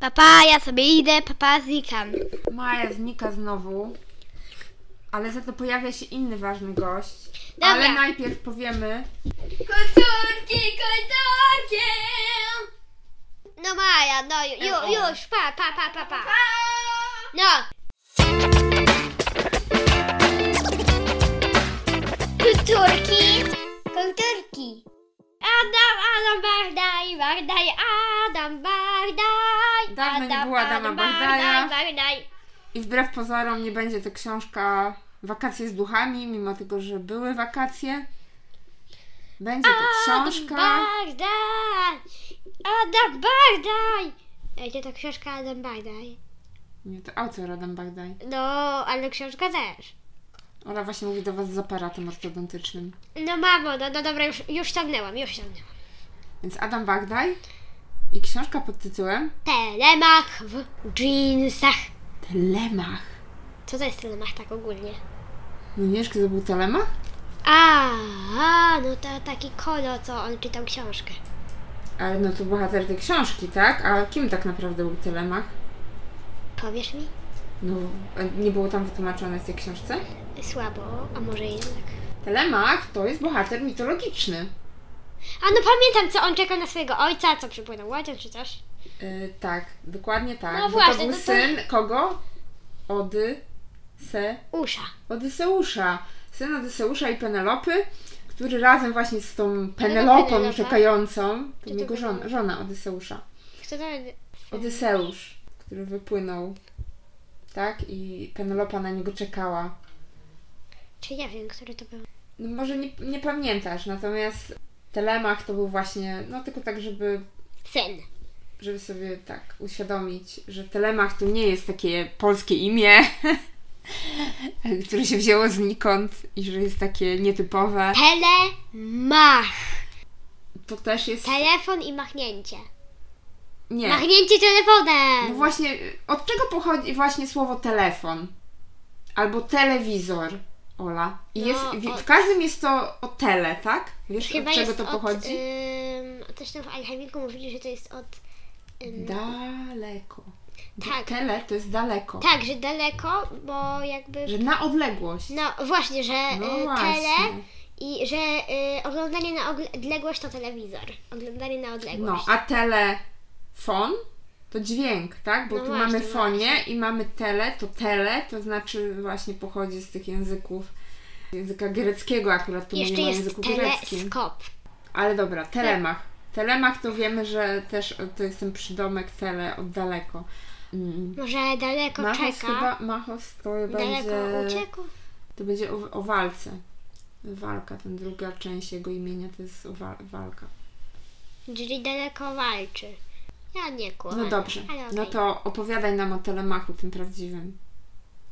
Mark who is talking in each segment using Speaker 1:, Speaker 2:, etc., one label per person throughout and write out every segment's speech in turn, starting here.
Speaker 1: Papa, ja sobie idę, papa, znikam.
Speaker 2: Maja znika znowu, ale za to pojawia się inny ważny gość.
Speaker 1: Dobra.
Speaker 2: Ale najpierw powiemy,
Speaker 1: Kulturki, kulturki! No Maja, no ju, ju, już, pa, pa, pa, pa, pa. No. Kulturki. Kulturki. Adam, Adam Bardaj, Bardaj, Adam Bardaj.
Speaker 2: Dawno nie było Adama Bardaja.
Speaker 1: Bardaj.
Speaker 2: i wbrew pozorom nie będzie to książka Wakacje z duchami, mimo tego, że były wakacje. Będzie to książka.
Speaker 1: Adam Bardaj. Adam Bardaj. Ej, to ta książka Adam Bardaj.
Speaker 2: Nie, to autor Adam Bagdaj.
Speaker 1: No, ale książka też.
Speaker 2: Ola właśnie mówi do Was z aparatem ortodontycznym.
Speaker 1: No mamo, no, no dobra, już, już ciągnęłam, już ciągnęłam.
Speaker 2: Więc Adam Bagdaj i książka pod tytułem
Speaker 1: Telemach w jeansach.
Speaker 2: Telemach.
Speaker 1: Co to jest telemach tak ogólnie?
Speaker 2: No nie wiesz, kiedy był Telemach?
Speaker 1: A, a no to taki kolo, co on czytał książkę.
Speaker 2: Ale no to bohater tej książki, tak? A kim tak naprawdę był Telemach?
Speaker 1: Powiesz mi?
Speaker 2: No, a nie było tam wytłumaczone w tej książce?
Speaker 1: Słabo, a może jednak.
Speaker 2: Telemach to jest bohater mitologiczny.
Speaker 1: A no pamiętam, co on czekał na swojego ojca, co przypłynął łodzią czy coś.
Speaker 2: Yy, tak, dokładnie tak.
Speaker 1: No
Speaker 2: bo
Speaker 1: właśnie,
Speaker 2: to był
Speaker 1: no to-
Speaker 2: syn kogo? Odyse...
Speaker 1: Usza.
Speaker 2: Odyseusza. Syn Odyseusza i Penelopy, który razem właśnie z tą Penelopą
Speaker 1: Penelopa?
Speaker 2: czekającą, to
Speaker 1: to
Speaker 2: jego żona,
Speaker 1: Penelopa?
Speaker 2: żona Odyseusza.
Speaker 1: Kto to...
Speaker 2: Odyseusz, który wypłynął, tak? I Penelopa na niego czekała.
Speaker 1: Czy ja wiem, który to był?
Speaker 2: No może nie, nie pamiętasz, natomiast Telemach to był właśnie, no tylko tak, żeby,
Speaker 1: Syn.
Speaker 2: żeby sobie tak uświadomić, że Telemach to nie jest takie polskie imię, które się wzięło znikąd i że jest takie nietypowe.
Speaker 1: Telemach.
Speaker 2: To też jest...
Speaker 1: Telefon i machnięcie.
Speaker 2: Nie.
Speaker 1: Machnięcie telefonem!
Speaker 2: No właśnie, od czego pochodzi właśnie słowo telefon? Albo telewizor, Ola. I
Speaker 1: No,
Speaker 2: jest, w,
Speaker 1: od-
Speaker 2: w każdym jest to o tele, tak? Wiesz,
Speaker 1: Chyba
Speaker 2: od czego
Speaker 1: jest
Speaker 2: to pochodzi?
Speaker 1: Od, ym, coś tam w Alchemiku mówili, że to jest od. Ym,
Speaker 2: Daleko.
Speaker 1: y, tak,
Speaker 2: Tele to jest daleko.
Speaker 1: tak, że daleko, bo jakby.
Speaker 2: Że na odległość.
Speaker 1: No właśnie, że
Speaker 2: No
Speaker 1: y, tele
Speaker 2: właśnie.
Speaker 1: i że y, oglądanie na ogle- odległość to telewizor. Oglądanie na
Speaker 2: No,
Speaker 1: odległość.
Speaker 2: a telefon to dźwięk, tak? Bo
Speaker 1: No
Speaker 2: tu
Speaker 1: właśnie,
Speaker 2: mamy fonie i mamy tele, to tele to znaczy właśnie pochodzi z tych języków języka greckiego, akurat tu
Speaker 1: Jeszcze
Speaker 2: mówimy o
Speaker 1: jest
Speaker 2: języku greckim.
Speaker 1: teleskop.
Speaker 2: Ale dobra, telemach. Telemach to wiemy, że też e, to jest ten przydomek tele od daleko. Mm.
Speaker 1: Może daleko
Speaker 2: Machos
Speaker 1: czeka.
Speaker 2: chyba, Machos to
Speaker 1: daleko
Speaker 2: będzie,
Speaker 1: uciekł.
Speaker 2: to będzie o, o walce. Walka, ten druga część jego imienia to jest o wa- walka.
Speaker 1: Czyli daleko walczy. Ja nie kłam.
Speaker 2: No dobrze,
Speaker 1: Ale okej.
Speaker 2: no to opowiadaj nam o telemachu tym prawdziwym.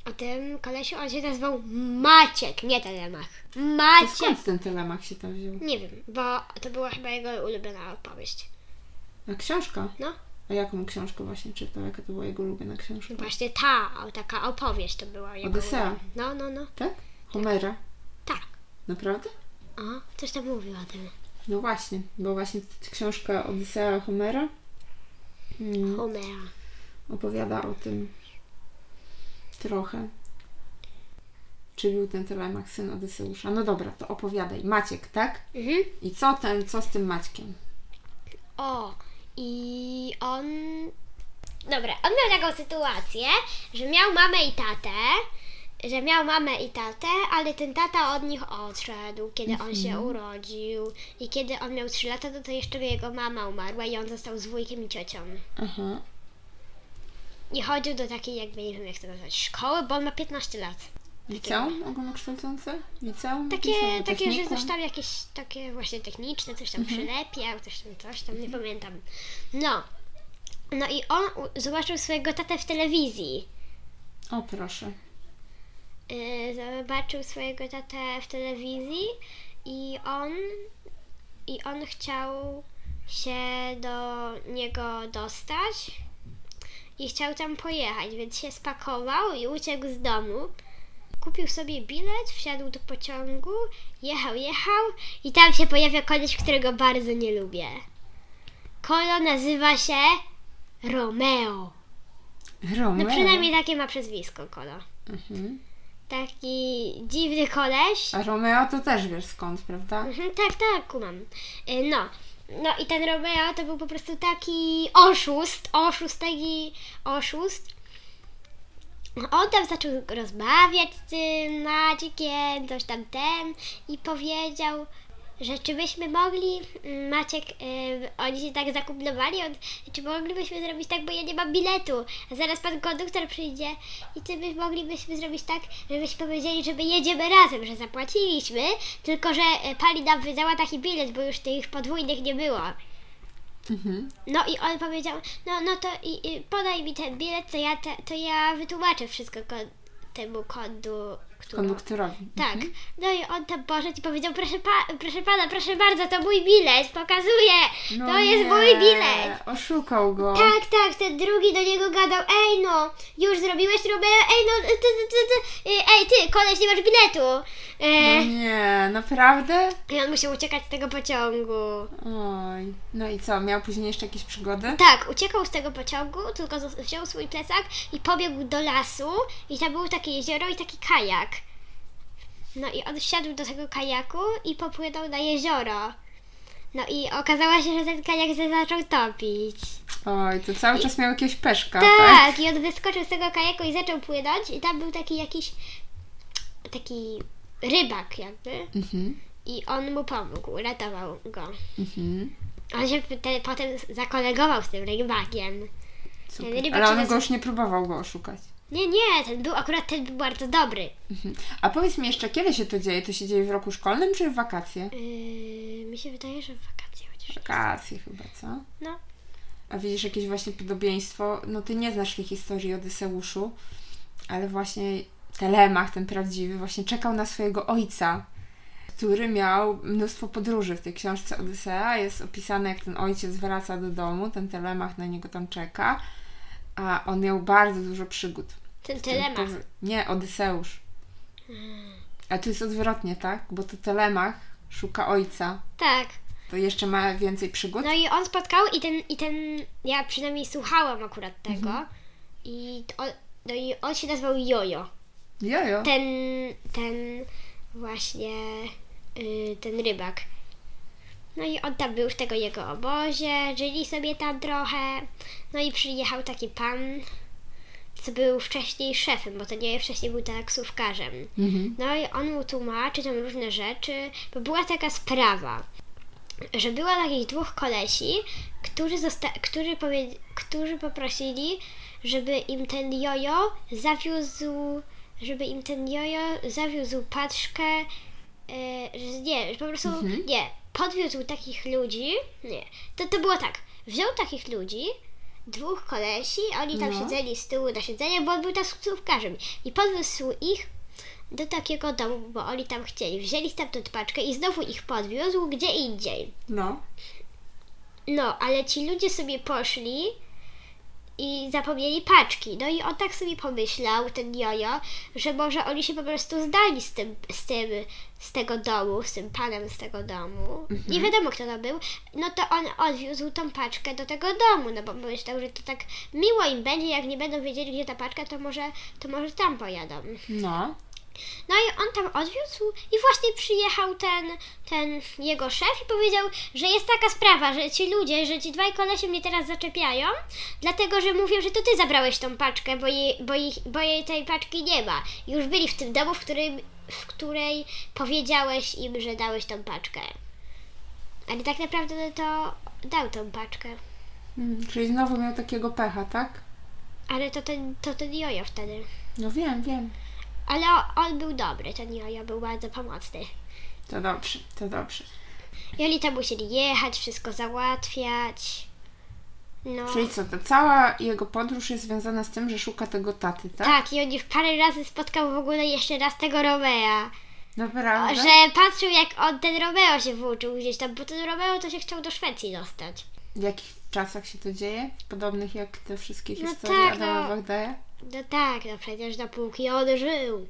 Speaker 1: O tym kolesiu on się nazywał Maciek, nie Telemach.
Speaker 2: To
Speaker 1: Maciek!
Speaker 2: skąd ten telemach się tam wziął?
Speaker 1: Nie wiem, bo to była chyba jego ulubiona opowieść.
Speaker 2: A książka?
Speaker 1: No,
Speaker 2: A jaką książkę właśnie czytał? Jaka to była jego ulubiona książka?
Speaker 1: właśnie ta, o, taka opowieść to była jego
Speaker 2: Odysea.
Speaker 1: ulubiona. No, no, no,
Speaker 2: Tak? Homera?
Speaker 1: tak.
Speaker 2: Naprawdę?
Speaker 1: O, coś tam mówił o tym.
Speaker 2: No właśnie, bo właśnie t- t- książka Odysea Homera mm,
Speaker 1: Homera.
Speaker 2: opowiada o tym trochę. Czy był ten Telemach syn Odyseusza? No dobra, to opowiadaj. Maciek, tak?
Speaker 1: Mhm.
Speaker 2: I co ten, co z tym Maćkiem?
Speaker 1: O, i on... Dobra, on miał taką sytuację, że miał mamę i tatę, że miał mamę i tatę, ale ten tata od nich odszedł, kiedy on się urodził i kiedy on miał 3 lata, to, to jeszcze jego mama umarła i on został z wujkiem i ciocią.
Speaker 2: Aha.
Speaker 1: I chodził do takiej, jakby nie wiem jak to nazwać, szkoły, bo on ma 15 lat.
Speaker 2: Liceum ogólnokształcące? Liceum? jakieś
Speaker 1: Takie,
Speaker 2: albo
Speaker 1: takie że
Speaker 2: technikum?
Speaker 1: coś tam jakieś takie właśnie techniczne, coś tam przylepiał, coś tam, coś tam, nie pamiętam. No. No i on u- zobaczył swojego tatę w telewizji.
Speaker 2: O proszę.
Speaker 1: Yy, zobaczył swojego tatę w telewizji i on i on chciał się do niego dostać i chciał tam pojechać, więc się spakował i uciekł z domu. Kupił sobie bilet, wsiadł do pociągu, jechał, jechał i tam się pojawia koleś, którego bardzo nie lubię. Kolo nazywa się Romeo.
Speaker 2: Romeo.
Speaker 1: No przynajmniej takie ma przezwisko Kola.
Speaker 2: Mhm.
Speaker 1: Taki dziwny koleś.
Speaker 2: A Romeo to też wiesz skąd, prawda?
Speaker 1: Mhm, tak, tak, kumam. Y, No. No i ten Romeo to był po prostu taki oszust, oszust, taki oszust. On tam zaczął rozmawiać z tym Macikiem, coś tam ten i powiedział, że czy byśmy mogli, mm, Maciek, y, oni się tak zakumplowali, on, czy moglibyśmy zrobić tak, bo ja nie mam biletu, a zaraz pan konduktor przyjdzie i czy my moglibyśmy zrobić tak, żebyśmy powiedzieli, że my jedziemy razem, że zapłaciliśmy, tylko że y, pani nam wydała taki bilet, bo już tych podwójnych nie było.
Speaker 2: Mhm.
Speaker 1: No i on powiedział, no, no to i, i podaj mi ten bilet, to ja, te, to ja wytłumaczę wszystko kon, temu kondu, którego-
Speaker 2: Konduktorowi.
Speaker 1: tak. No i on tam poszedł i powiedział, proszę, pa, proszę pana, proszę bardzo, to mój bilet, pokazuję,
Speaker 2: No
Speaker 1: to jest
Speaker 2: nie,
Speaker 1: mój bilet.
Speaker 2: Oszukał go.
Speaker 1: Tak, tak, ten drugi do niego gadał, ej no, już zrobiłeś Romeo, ej no, ty, ty, ty, ty, ej ty, koleś, nie masz biletu.
Speaker 2: No
Speaker 1: E,
Speaker 2: nie, naprawdę?
Speaker 1: I on musiał uciekać z tego pociągu.
Speaker 2: Oj. No i co, miał później jeszcze jakieś przygody?
Speaker 1: Tak, uciekał z tego pociągu, tylko zos- wziął swój plecak i pobiegł do lasu i tam było takie jezioro i taki kajak. No i on wsiadł do tego kajaku i popłynął na jezioro. No i okazało się, że ten kajak się zaczął topić.
Speaker 2: Oj, to cały czas miał jakiegoś peszka, tak?
Speaker 1: Tak, i on wyskoczył z tego kajaku i zaczął płynąć i tam był taki jakiś taki rybak jakby
Speaker 2: Mhm.
Speaker 1: i on mu pomógł, ratował go.
Speaker 2: Mhm.
Speaker 1: On się te, potem zakolegował z tym rybakiem.
Speaker 2: Super.
Speaker 1: Ten rybak
Speaker 2: Ale
Speaker 1: się
Speaker 2: on
Speaker 1: nazy-
Speaker 2: go już nie próbował go oszukać.
Speaker 1: Nie, nie, ten był akurat ten był bardzo dobry.
Speaker 2: Mhm. A powiedz mi jeszcze, kiedy się to dzieje? To się dzieje w roku szkolnym czy w wakacje?
Speaker 1: Yy, mi się wydaje, że w wakacje chociaż.
Speaker 2: Wakacje chyba, co?
Speaker 1: No.
Speaker 2: A widzisz jakieś właśnie podobieństwo? No ty nie znasz tej historii Odyseuszu, ale właśnie Telemach, ten prawdziwy, właśnie czekał na swojego ojca, który miał mnóstwo podróży. W tej książce Odysea jest opisane, jak ten ojciec wraca do domu, ten Telemach na niego tam czeka, a on miał bardzo dużo przygód.
Speaker 1: Ten
Speaker 2: Ten
Speaker 1: telemach.
Speaker 2: powy- Nie, Odyseusz. A tu jest odwrotnie, tak? Bo to Telemach szuka ojca,
Speaker 1: Tak.
Speaker 2: to jeszcze ma więcej przygód.
Speaker 1: No i on spotkał i ten, i ten, ja przynajmniej słuchałam akurat tego. I to on, no i on się nazywał Jojo.
Speaker 2: Jojo.
Speaker 1: Ten, ten właśnie, yy, ten rybak. No i on tam był w tego jego obozie, żyli sobie tam trochę. No i przyjechał taki pan, co był wcześniej szefem, bo to nie wcześniej był taksówkarzem.
Speaker 2: Mhm.
Speaker 1: No i on mu tłumaczy tam różne rzeczy, bo była taka sprawa, że było takich dwóch kolesi, którzy, zosta- którzy, powie- którzy poprosili, żeby im ten jojo zawiózł, żeby im ten jojo zawiózł paczkę, yy, że nie, że po prostu,
Speaker 2: Mhm.
Speaker 1: nie, podwiózł takich ludzi, nie, to, to było tak, wziął takich ludzi, dwóch kolesi, oni tam
Speaker 2: No.
Speaker 1: siedzieli z tyłu na siedzenie, bo on był taksówkarzem i podwiózł ich do takiego domu, bo oni tam chcieli. Wzięli stamtąd paczkę i znowu ich podwiózł gdzie indziej.
Speaker 2: No.
Speaker 1: No, ale ci ludzie sobie poszli i zapomnieli paczki. No i on tak sobie pomyślał, ten jojo, że może oni się po prostu zdali z tym, z tym, z tego domu, z tym panem z tego domu. Nie wiadomo, kto to był. No to on odwiózł tą paczkę do tego domu, no bo myślał, że to tak miło im będzie, jak nie będą wiedzieli, gdzie ta paczka, to może, to może tam pojadą.
Speaker 2: No.
Speaker 1: No i on tam odwiózł i właśnie przyjechał ten, ten jego szef i powiedział, że jest taka sprawa, że ci ludzie, że ci dwaj kolesie mnie teraz zaczepiają, dlatego że mówią, że to ty zabrałeś tą paczkę, bo jej, bo ich, bo jej tej paczki nie ma. Już byli w tym domu, w, którym, w której powiedziałeś im, że dałeś tą paczkę. Ale tak naprawdę to dał tą paczkę.
Speaker 2: Mm, Czyli znowu miał takiego pecha, tak?
Speaker 1: Ale to ten, to ten jojo wtedy.
Speaker 2: No wiem, wiem.
Speaker 1: Ale on był dobry, ten jojo był bardzo pomocny.
Speaker 2: To dobrze, to dobrze.
Speaker 1: I oni tam musieli jechać, wszystko załatwiać. No.
Speaker 2: Czyli co, to cała jego podróż jest związana z tym, że szuka tego taty, tak?
Speaker 1: Tak, i on już parę razy spotkał w ogóle jeszcze raz tego Romea.
Speaker 2: Naprawdę?
Speaker 1: Że patrzył, jak on ten Romeo się włóczył gdzieś tam, bo ten Romeo to się chciał do Szwecji dostać.
Speaker 2: W jakich czasach się to dzieje? Podobnych jak te wszystkie
Speaker 1: No
Speaker 2: historie
Speaker 1: tak,
Speaker 2: Adama
Speaker 1: no.
Speaker 2: Bagdaja?
Speaker 1: No tak, no przecież dopóki on żył.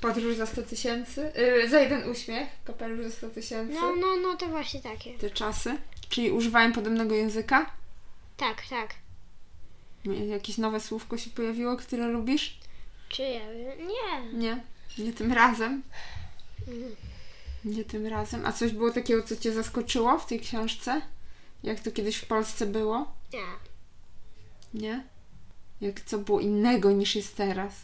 Speaker 2: Podróż za 100 tysięcy? Yy, za jeden uśmiech. Kapelusz za 100 tysięcy.
Speaker 1: No, no, no to właśnie takie.
Speaker 2: Te czasy. Czyli używają podobnego języka?
Speaker 1: Tak, tak.
Speaker 2: Jakieś nowe słówko się pojawiło, które lubisz?
Speaker 1: Czy ja wiem? Nie.
Speaker 2: Nie. Nie tym razem.
Speaker 1: Mm.
Speaker 2: Nie tym razem. A coś było takiego, co Cię zaskoczyło w tej książce? Jak to kiedyś w Polsce było?
Speaker 1: Nie.
Speaker 2: Nie? Jak co było innego niż jest teraz?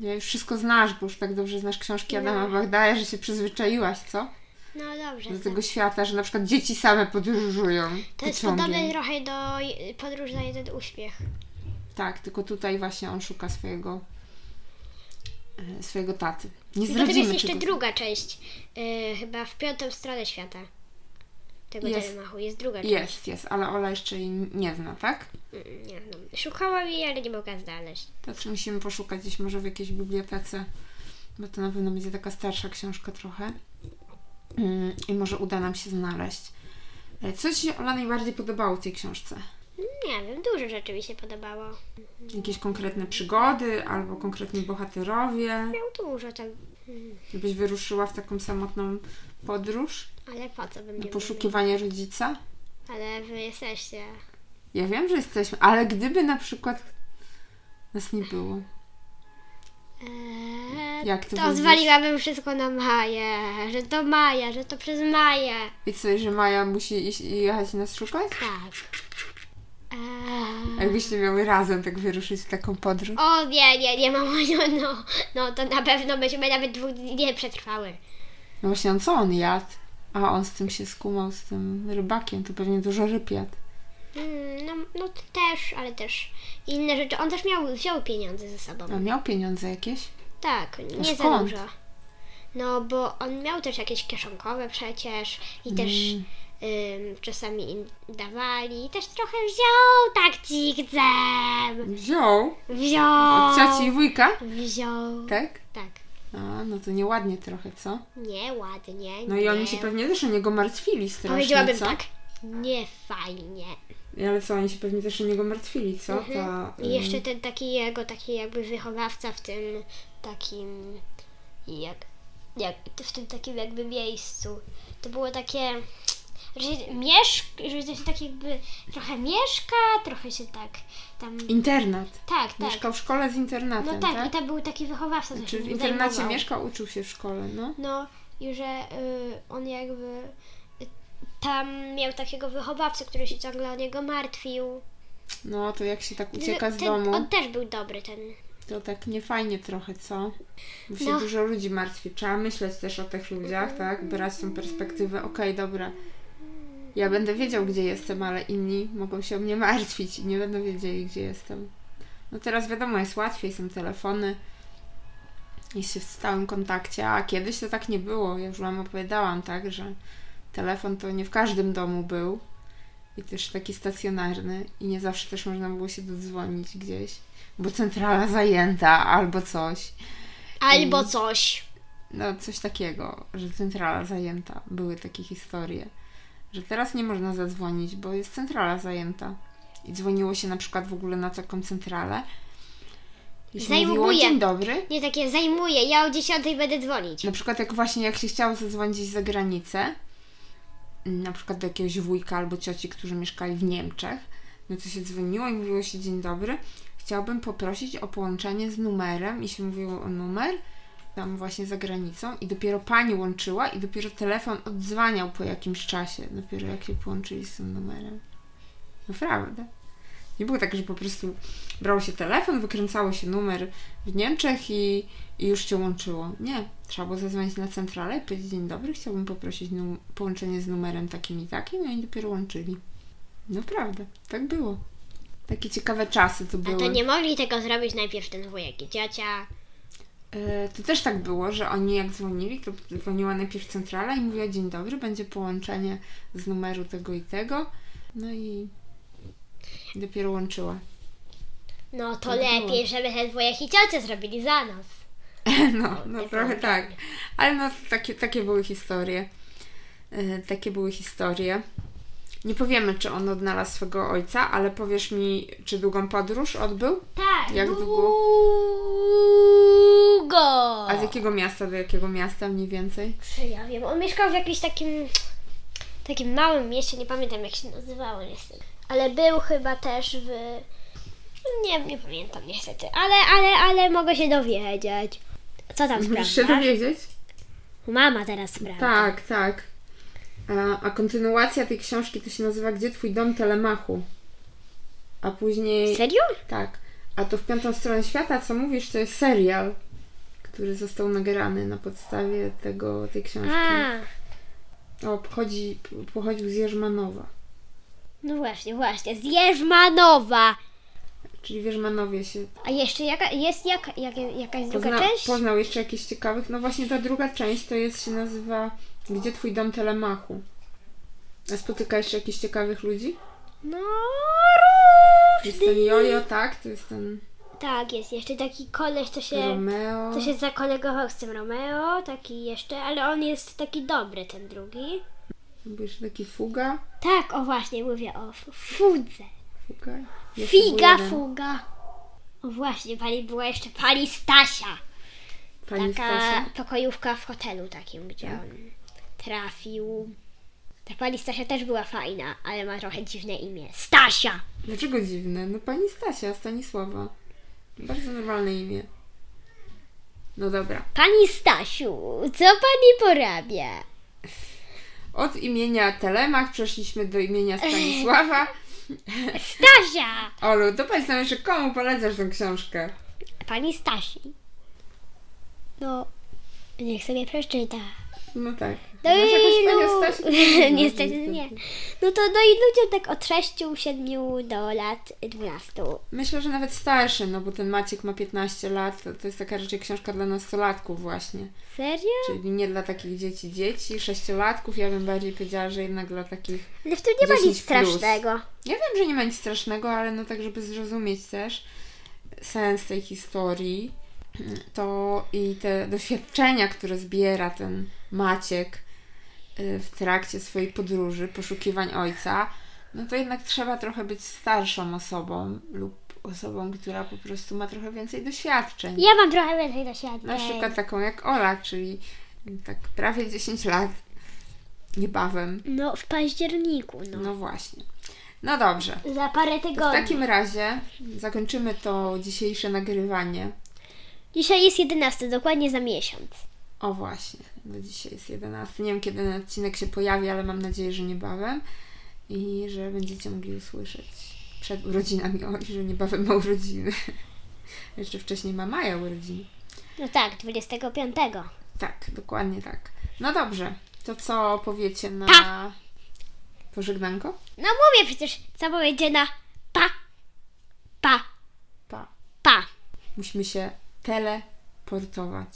Speaker 2: Ja już wszystko znasz, bo już tak dobrze znasz książki
Speaker 1: No.
Speaker 2: Adama Bagdaja, że się przyzwyczaiłaś, co?
Speaker 1: No dobrze.
Speaker 2: Do
Speaker 1: tak.
Speaker 2: tego świata, że na przykład dzieci same podróżują
Speaker 1: To jest
Speaker 2: pociągiem.
Speaker 1: podobne trochę do je- podróż na jeden uśmiech.
Speaker 2: Tak, tylko tutaj właśnie on szuka swojego e, swojego taty. Nie
Speaker 1: I potem
Speaker 2: zdradzimy
Speaker 1: jest jeszcze
Speaker 2: czego-
Speaker 1: druga część, y, chyba w piątą stronę świata tego
Speaker 2: Jest.
Speaker 1: telemachu. Jest druga część.
Speaker 2: Jest, jest, ale Ola jeszcze jej nie zna, tak?
Speaker 1: Mm, Nie, no. Szukałam jej, ale nie mogłam znaleźć.
Speaker 2: Znaczy musimy poszukać gdzieś może w jakiejś bibliotece, bo to na pewno będzie taka starsza książka trochę. Mm, I może uda nam się znaleźć. E, Co Ci się Ola najbardziej podobało w tej książce?
Speaker 1: Nie wiem, dużo rzeczy mi się podobało.
Speaker 2: Jakieś konkretne przygody albo konkretni bohaterowie?
Speaker 1: Miał dużo tak,
Speaker 2: Gdybyś wyruszyła w taką samotną podróż,
Speaker 1: ale po co bym
Speaker 2: na
Speaker 1: nie
Speaker 2: poszukiwanie rodzica?
Speaker 1: Ale wy jesteście.
Speaker 2: Ja wiem, że jesteśmy, ale gdyby na przykład nas nie było.
Speaker 1: Eee,
Speaker 2: Jak to
Speaker 1: e, to
Speaker 2: widzisz?
Speaker 1: zwaliłabym wszystko na Maję, że to Maja, że to przez Maję.
Speaker 2: I co, że Maja musi iść i jechać nas szukać?
Speaker 1: Tak. Eee.
Speaker 2: A Jakbyście miały razem tak wyruszyć w taką podróż?
Speaker 1: O nie, nie, nie, mamo, no, no, no to na pewno byśmy nawet dwóch dni nie przetrwały.
Speaker 2: No właśnie, on co on jadł? A on z tym się skumał, z tym rybakiem, to pewnie dużo ryb jadł.
Speaker 1: Mm, no, no to też, ale też inne rzeczy. On też miał, wziął pieniądze ze sobą.
Speaker 2: A miał pieniądze jakieś?
Speaker 1: Tak, nie za
Speaker 2: skąd?
Speaker 1: dużo. No bo on miał też jakieś kieszonkowe przecież i też
Speaker 2: Mm.
Speaker 1: ym, czasami im dawali i też trochę wziął tak dzikcem.
Speaker 2: Wziął
Speaker 1: Wziął.
Speaker 2: od cioci i wujka,
Speaker 1: Wziął.
Speaker 2: tak?
Speaker 1: Tak.
Speaker 2: A, no to nieładnie trochę, co?
Speaker 1: Nieładnie.
Speaker 2: No i oni się pewnie też o niego martwili strasznie,
Speaker 1: Powiedziałabym
Speaker 2: co?
Speaker 1: tak. Nie fajnie.
Speaker 2: Ale co, oni się pewnie też o niego martwili, co? Ta,
Speaker 1: Mhm. I jeszcze ten taki jego, taki jakby wychowawca w tym takim, jak, jak w tym takim jakby miejscu. To było takie, że się mieszk, że się tak jakby trochę mieszka, trochę się tak tam,
Speaker 2: Internat.
Speaker 1: tak, tak.
Speaker 2: Mieszkał w szkole z internatem,
Speaker 1: No tak,
Speaker 2: tak?
Speaker 1: i tam był taki wychowawca, co
Speaker 2: Czy
Speaker 1: się
Speaker 2: w
Speaker 1: nim
Speaker 2: internacie
Speaker 1: zajmował.
Speaker 2: mieszkał, uczył się w szkole, no?
Speaker 1: No i że y, on jakby y, tam miał takiego wychowawcę, który się ciągle o niego martwił.
Speaker 2: No to jak się tak
Speaker 1: Że
Speaker 2: ucieka z
Speaker 1: ten,
Speaker 2: domu,
Speaker 1: On też był dobry, ten
Speaker 2: to tak niefajnie trochę, co? Bo się
Speaker 1: No.
Speaker 2: dużo ludzi martwi. Trzeba myśleć też o tych ludziach, tak? Brać tą perspektywę. Okej, dobra. Ja będę wiedział, gdzie jestem, ale inni mogą się o mnie martwić i nie będą wiedzieli, gdzie jestem. No teraz wiadomo, jest łatwiej, są telefony. Jest się w stałym kontakcie, a kiedyś to tak nie było. Ja już Wam opowiadałam, tak, że telefon to nie w każdym domu był i też taki stacjonarny i nie zawsze też można było się dodzwonić gdzieś, bo centrala zajęta albo coś.
Speaker 1: albo coś.
Speaker 2: No, coś takiego, że centrala zajęta. Były takie historie, że teraz nie można zadzwonić, bo jest centrala zajęta. I dzwoniło się na przykład w ogóle na taką centralę. I się mówiło,
Speaker 1: Zajmuję.
Speaker 2: dzień dobry.
Speaker 1: Nie takie zajmuję, ja o 10 będę dzwonić.
Speaker 2: Na przykład jak właśnie jak się chciało zadzwonić gdzieś za granicę, mm, na przykład do jakiegoś wujka albo cioci, którzy mieszkali w Niemczech, no to się dzwoniło i mówiło się dzień dobry, chciałbym poprosić o połączenie z numerem i się mówiło o numer tam właśnie za granicą i dopiero pani łączyła i dopiero telefon odzwaniał po jakimś czasie, dopiero jak się połączyli z tym numerem. Naprawdę. Nie było tak, że po prostu brało się telefon, wykręcało się numer w Niemczech i, i już się łączyło. Nie, trzeba było zadzwonić na centralę i powiedzieć dzień dobry, chciałbym poprosić num- połączenie z numerem takim i takim, no i dopiero łączyli. Naprawdę, tak było. Takie ciekawe czasy to
Speaker 1: A
Speaker 2: były.
Speaker 1: to nie mogli tego zrobić najpierw ten wujek i ciocia.
Speaker 2: E, To też tak było, że oni jak dzwonili, to dzwoniła najpierw centrala i mówiła dzień dobry, będzie połączenie z numeru tego i tego. No i dopiero łączyła.
Speaker 1: No to
Speaker 2: Tak było.
Speaker 1: lepiej, żeby ten wujek i ciocia zrobili za nas.
Speaker 2: No, no
Speaker 1: tak
Speaker 2: trochę
Speaker 1: naprawdę.
Speaker 2: tak. Ale no takie, takie były historie. E, Takie były historie. Nie powiemy, czy on odnalazł swego ojca, ale powiesz mi, czy długą podróż odbył?
Speaker 1: Tak,
Speaker 2: Jak długo?
Speaker 1: długo.
Speaker 2: A z jakiego miasta do jakiego miasta mniej więcej?
Speaker 1: Czy ja wiem, on mieszkał w jakimś takim, takim małym mieście, nie pamiętam jak się nazywało niestety. Ale był chyba też w Nie, nie pamiętam niestety, ale, ale, ale mogę się dowiedzieć. Co tam
Speaker 2: Musisz się
Speaker 1: sprawdzasz?
Speaker 2: dowiedzieć?
Speaker 1: Mama teraz sprawdza.
Speaker 2: Tak, tak. E, A, a kontynuacja tej książki to się nazywa Gdzie twój dom Telemachu? A później...
Speaker 1: Serio?
Speaker 2: Tak. A to w piątą stronę świata, co mówisz, to jest serial, który został nagrany na podstawie tego, tej książki.
Speaker 1: A,
Speaker 2: O, pochodzi, pochodził z Jerzmanowa.
Speaker 1: no właśnie, właśnie. Z Jerzmanowa.
Speaker 2: Czyli w Jerzmanowie się
Speaker 1: A jeszcze jaka, jest jak, jak, jakaś druga
Speaker 2: pozna,
Speaker 1: część?
Speaker 2: poznał jeszcze jakichś ciekawych. No właśnie ta druga część to jest, się nazywa Gdzie twój dom Telemachu? A spotyka jeszcze jakichś ciekawych ludzi?
Speaker 1: No,
Speaker 2: Jest ten Jojo, tak? To jest ten
Speaker 1: Tak, jest jeszcze taki koleś, co się,
Speaker 2: Romeo.
Speaker 1: co się zakolegował z tym Romeo, taki jeszcze, ale on jest taki dobry, ten drugi.
Speaker 2: Był jeszcze taki Fuga.
Speaker 1: Tak, o właśnie, mówię o fu- fudze.
Speaker 2: Fuga. Jeszcze był
Speaker 1: Figa,
Speaker 2: jeden.
Speaker 1: fuga. O właśnie, pani była jeszcze pani Stasia.
Speaker 2: Pani
Speaker 1: taka
Speaker 2: Stasia.
Speaker 1: pokojówka w hotelu takim, gdzie
Speaker 2: No.
Speaker 1: on trafił. Ta pani Stasia też była fajna, ale ma trochę dziwne imię. Stasia!
Speaker 2: Dlaczego dziwne? No pani Stasia, Stanisława. Bardzo normalne imię. No dobra.
Speaker 1: Pani Stasiu, co pani porabia?
Speaker 2: Od imienia Telemach przeszliśmy do imienia Stanisława.
Speaker 1: Stasia!
Speaker 2: Olu, to powiedz nam jeszcze, komu polecasz tę książkę?
Speaker 1: Pani Stasi. No, niech sobie przeczyta.
Speaker 2: No tak.
Speaker 1: No
Speaker 2: Masz jakąś
Speaker 1: i lu-
Speaker 2: panią Stasię? Nie,
Speaker 1: Niestety nie. No to no i ludziom tak od 6, 7 do lat 12.
Speaker 2: Myślę, że nawet starszy, no bo ten Maciek ma 15 lat, to, to jest taka raczej książka dla nastolatków właśnie.
Speaker 1: Serio?
Speaker 2: Czyli nie dla takich dzieci dzieci, sześciolatków, ja bym bardziej powiedziała, że jednak dla takich
Speaker 1: Ale No w tym nie ma nic
Speaker 2: 10 plus.
Speaker 1: strasznego.
Speaker 2: Ja wiem, że nie ma nic strasznego, ale no tak, żeby zrozumieć też sens tej historii, to i te doświadczenia, które zbiera ten Maciek y, w trakcie swojej podróży, poszukiwań ojca, no to jednak trzeba trochę być starszą osobą lub osobą, która po prostu ma trochę więcej doświadczeń.
Speaker 1: Ja mam trochę więcej doświadczeń.
Speaker 2: Na przykład taką jak Ola, czyli tak prawie 10 lat niebawem.
Speaker 1: No, w październiku, no.
Speaker 2: No właśnie. No dobrze.
Speaker 1: Za parę
Speaker 2: W
Speaker 1: tygodni.
Speaker 2: takim razie zakończymy to dzisiejsze nagrywanie.
Speaker 1: Dzisiaj jest 11, dokładnie za miesiąc.
Speaker 2: O właśnie, no dzisiaj jest 11. Nie wiem kiedy ten odcinek się pojawi, ale mam nadzieję, że niebawem i że będziecie mogli usłyszeć przed urodzinami Oli, że niebawem ma urodziny. Jeszcze wcześniej ma Maja urodziny.
Speaker 1: No tak, 25.
Speaker 2: Tak, dokładnie tak. No dobrze, to co powiecie na
Speaker 1: Pa!
Speaker 2: pożegnanko?
Speaker 1: No mówię przecież, co powiedzie na pa, pa,
Speaker 2: Pa.
Speaker 1: pa.
Speaker 2: Musimy się teleportować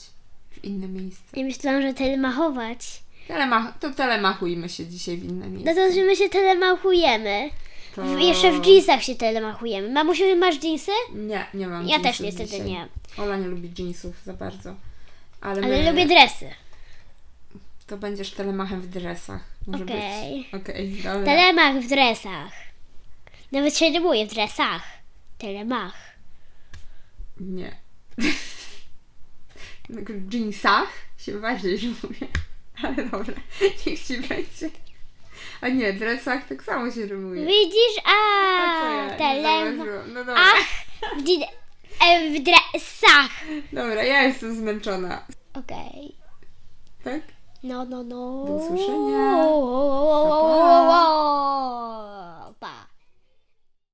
Speaker 2: w inne miejsce.
Speaker 1: I myślałam, że telemachować.
Speaker 2: Telemach- to telemachujmy się dzisiaj w inne miejsce.
Speaker 1: No to, że my się telemachujemy.
Speaker 2: To...
Speaker 1: W, jeszcze w jeansach się telemachujemy. Mamusiu, masz jeansy?
Speaker 2: Nie, nie mam
Speaker 1: Ja
Speaker 2: jeansów
Speaker 1: też niestety
Speaker 2: dzisiaj.
Speaker 1: nie.
Speaker 2: Ola nie lubi jeansów za bardzo. Ale,
Speaker 1: Ale
Speaker 2: my,
Speaker 1: lubię dresy.
Speaker 2: To będziesz telemachem w dresach. Może
Speaker 1: Okej.
Speaker 2: być. Okej, dobra.
Speaker 1: Telemach w dresach. Nawet się rymuję w dresach. Telemach.
Speaker 2: Nie. No, W jeansach się bardziej rymuje. Ale dobra, niech ci będzie. A nie, w dresach tak samo się rymuje.
Speaker 1: Widzisz? A,
Speaker 2: A No co ja?
Speaker 1: a
Speaker 2: Nie
Speaker 1: telemach.
Speaker 2: zauważyłam. No dobra.
Speaker 1: Ach, w, dzi- e, w dresach.
Speaker 2: Dobra, ja jestem zmęczona.
Speaker 1: Okej.
Speaker 2: Tak?
Speaker 1: No, no, no.
Speaker 2: Do usłyszenia.
Speaker 1: Pa,
Speaker 2: pa.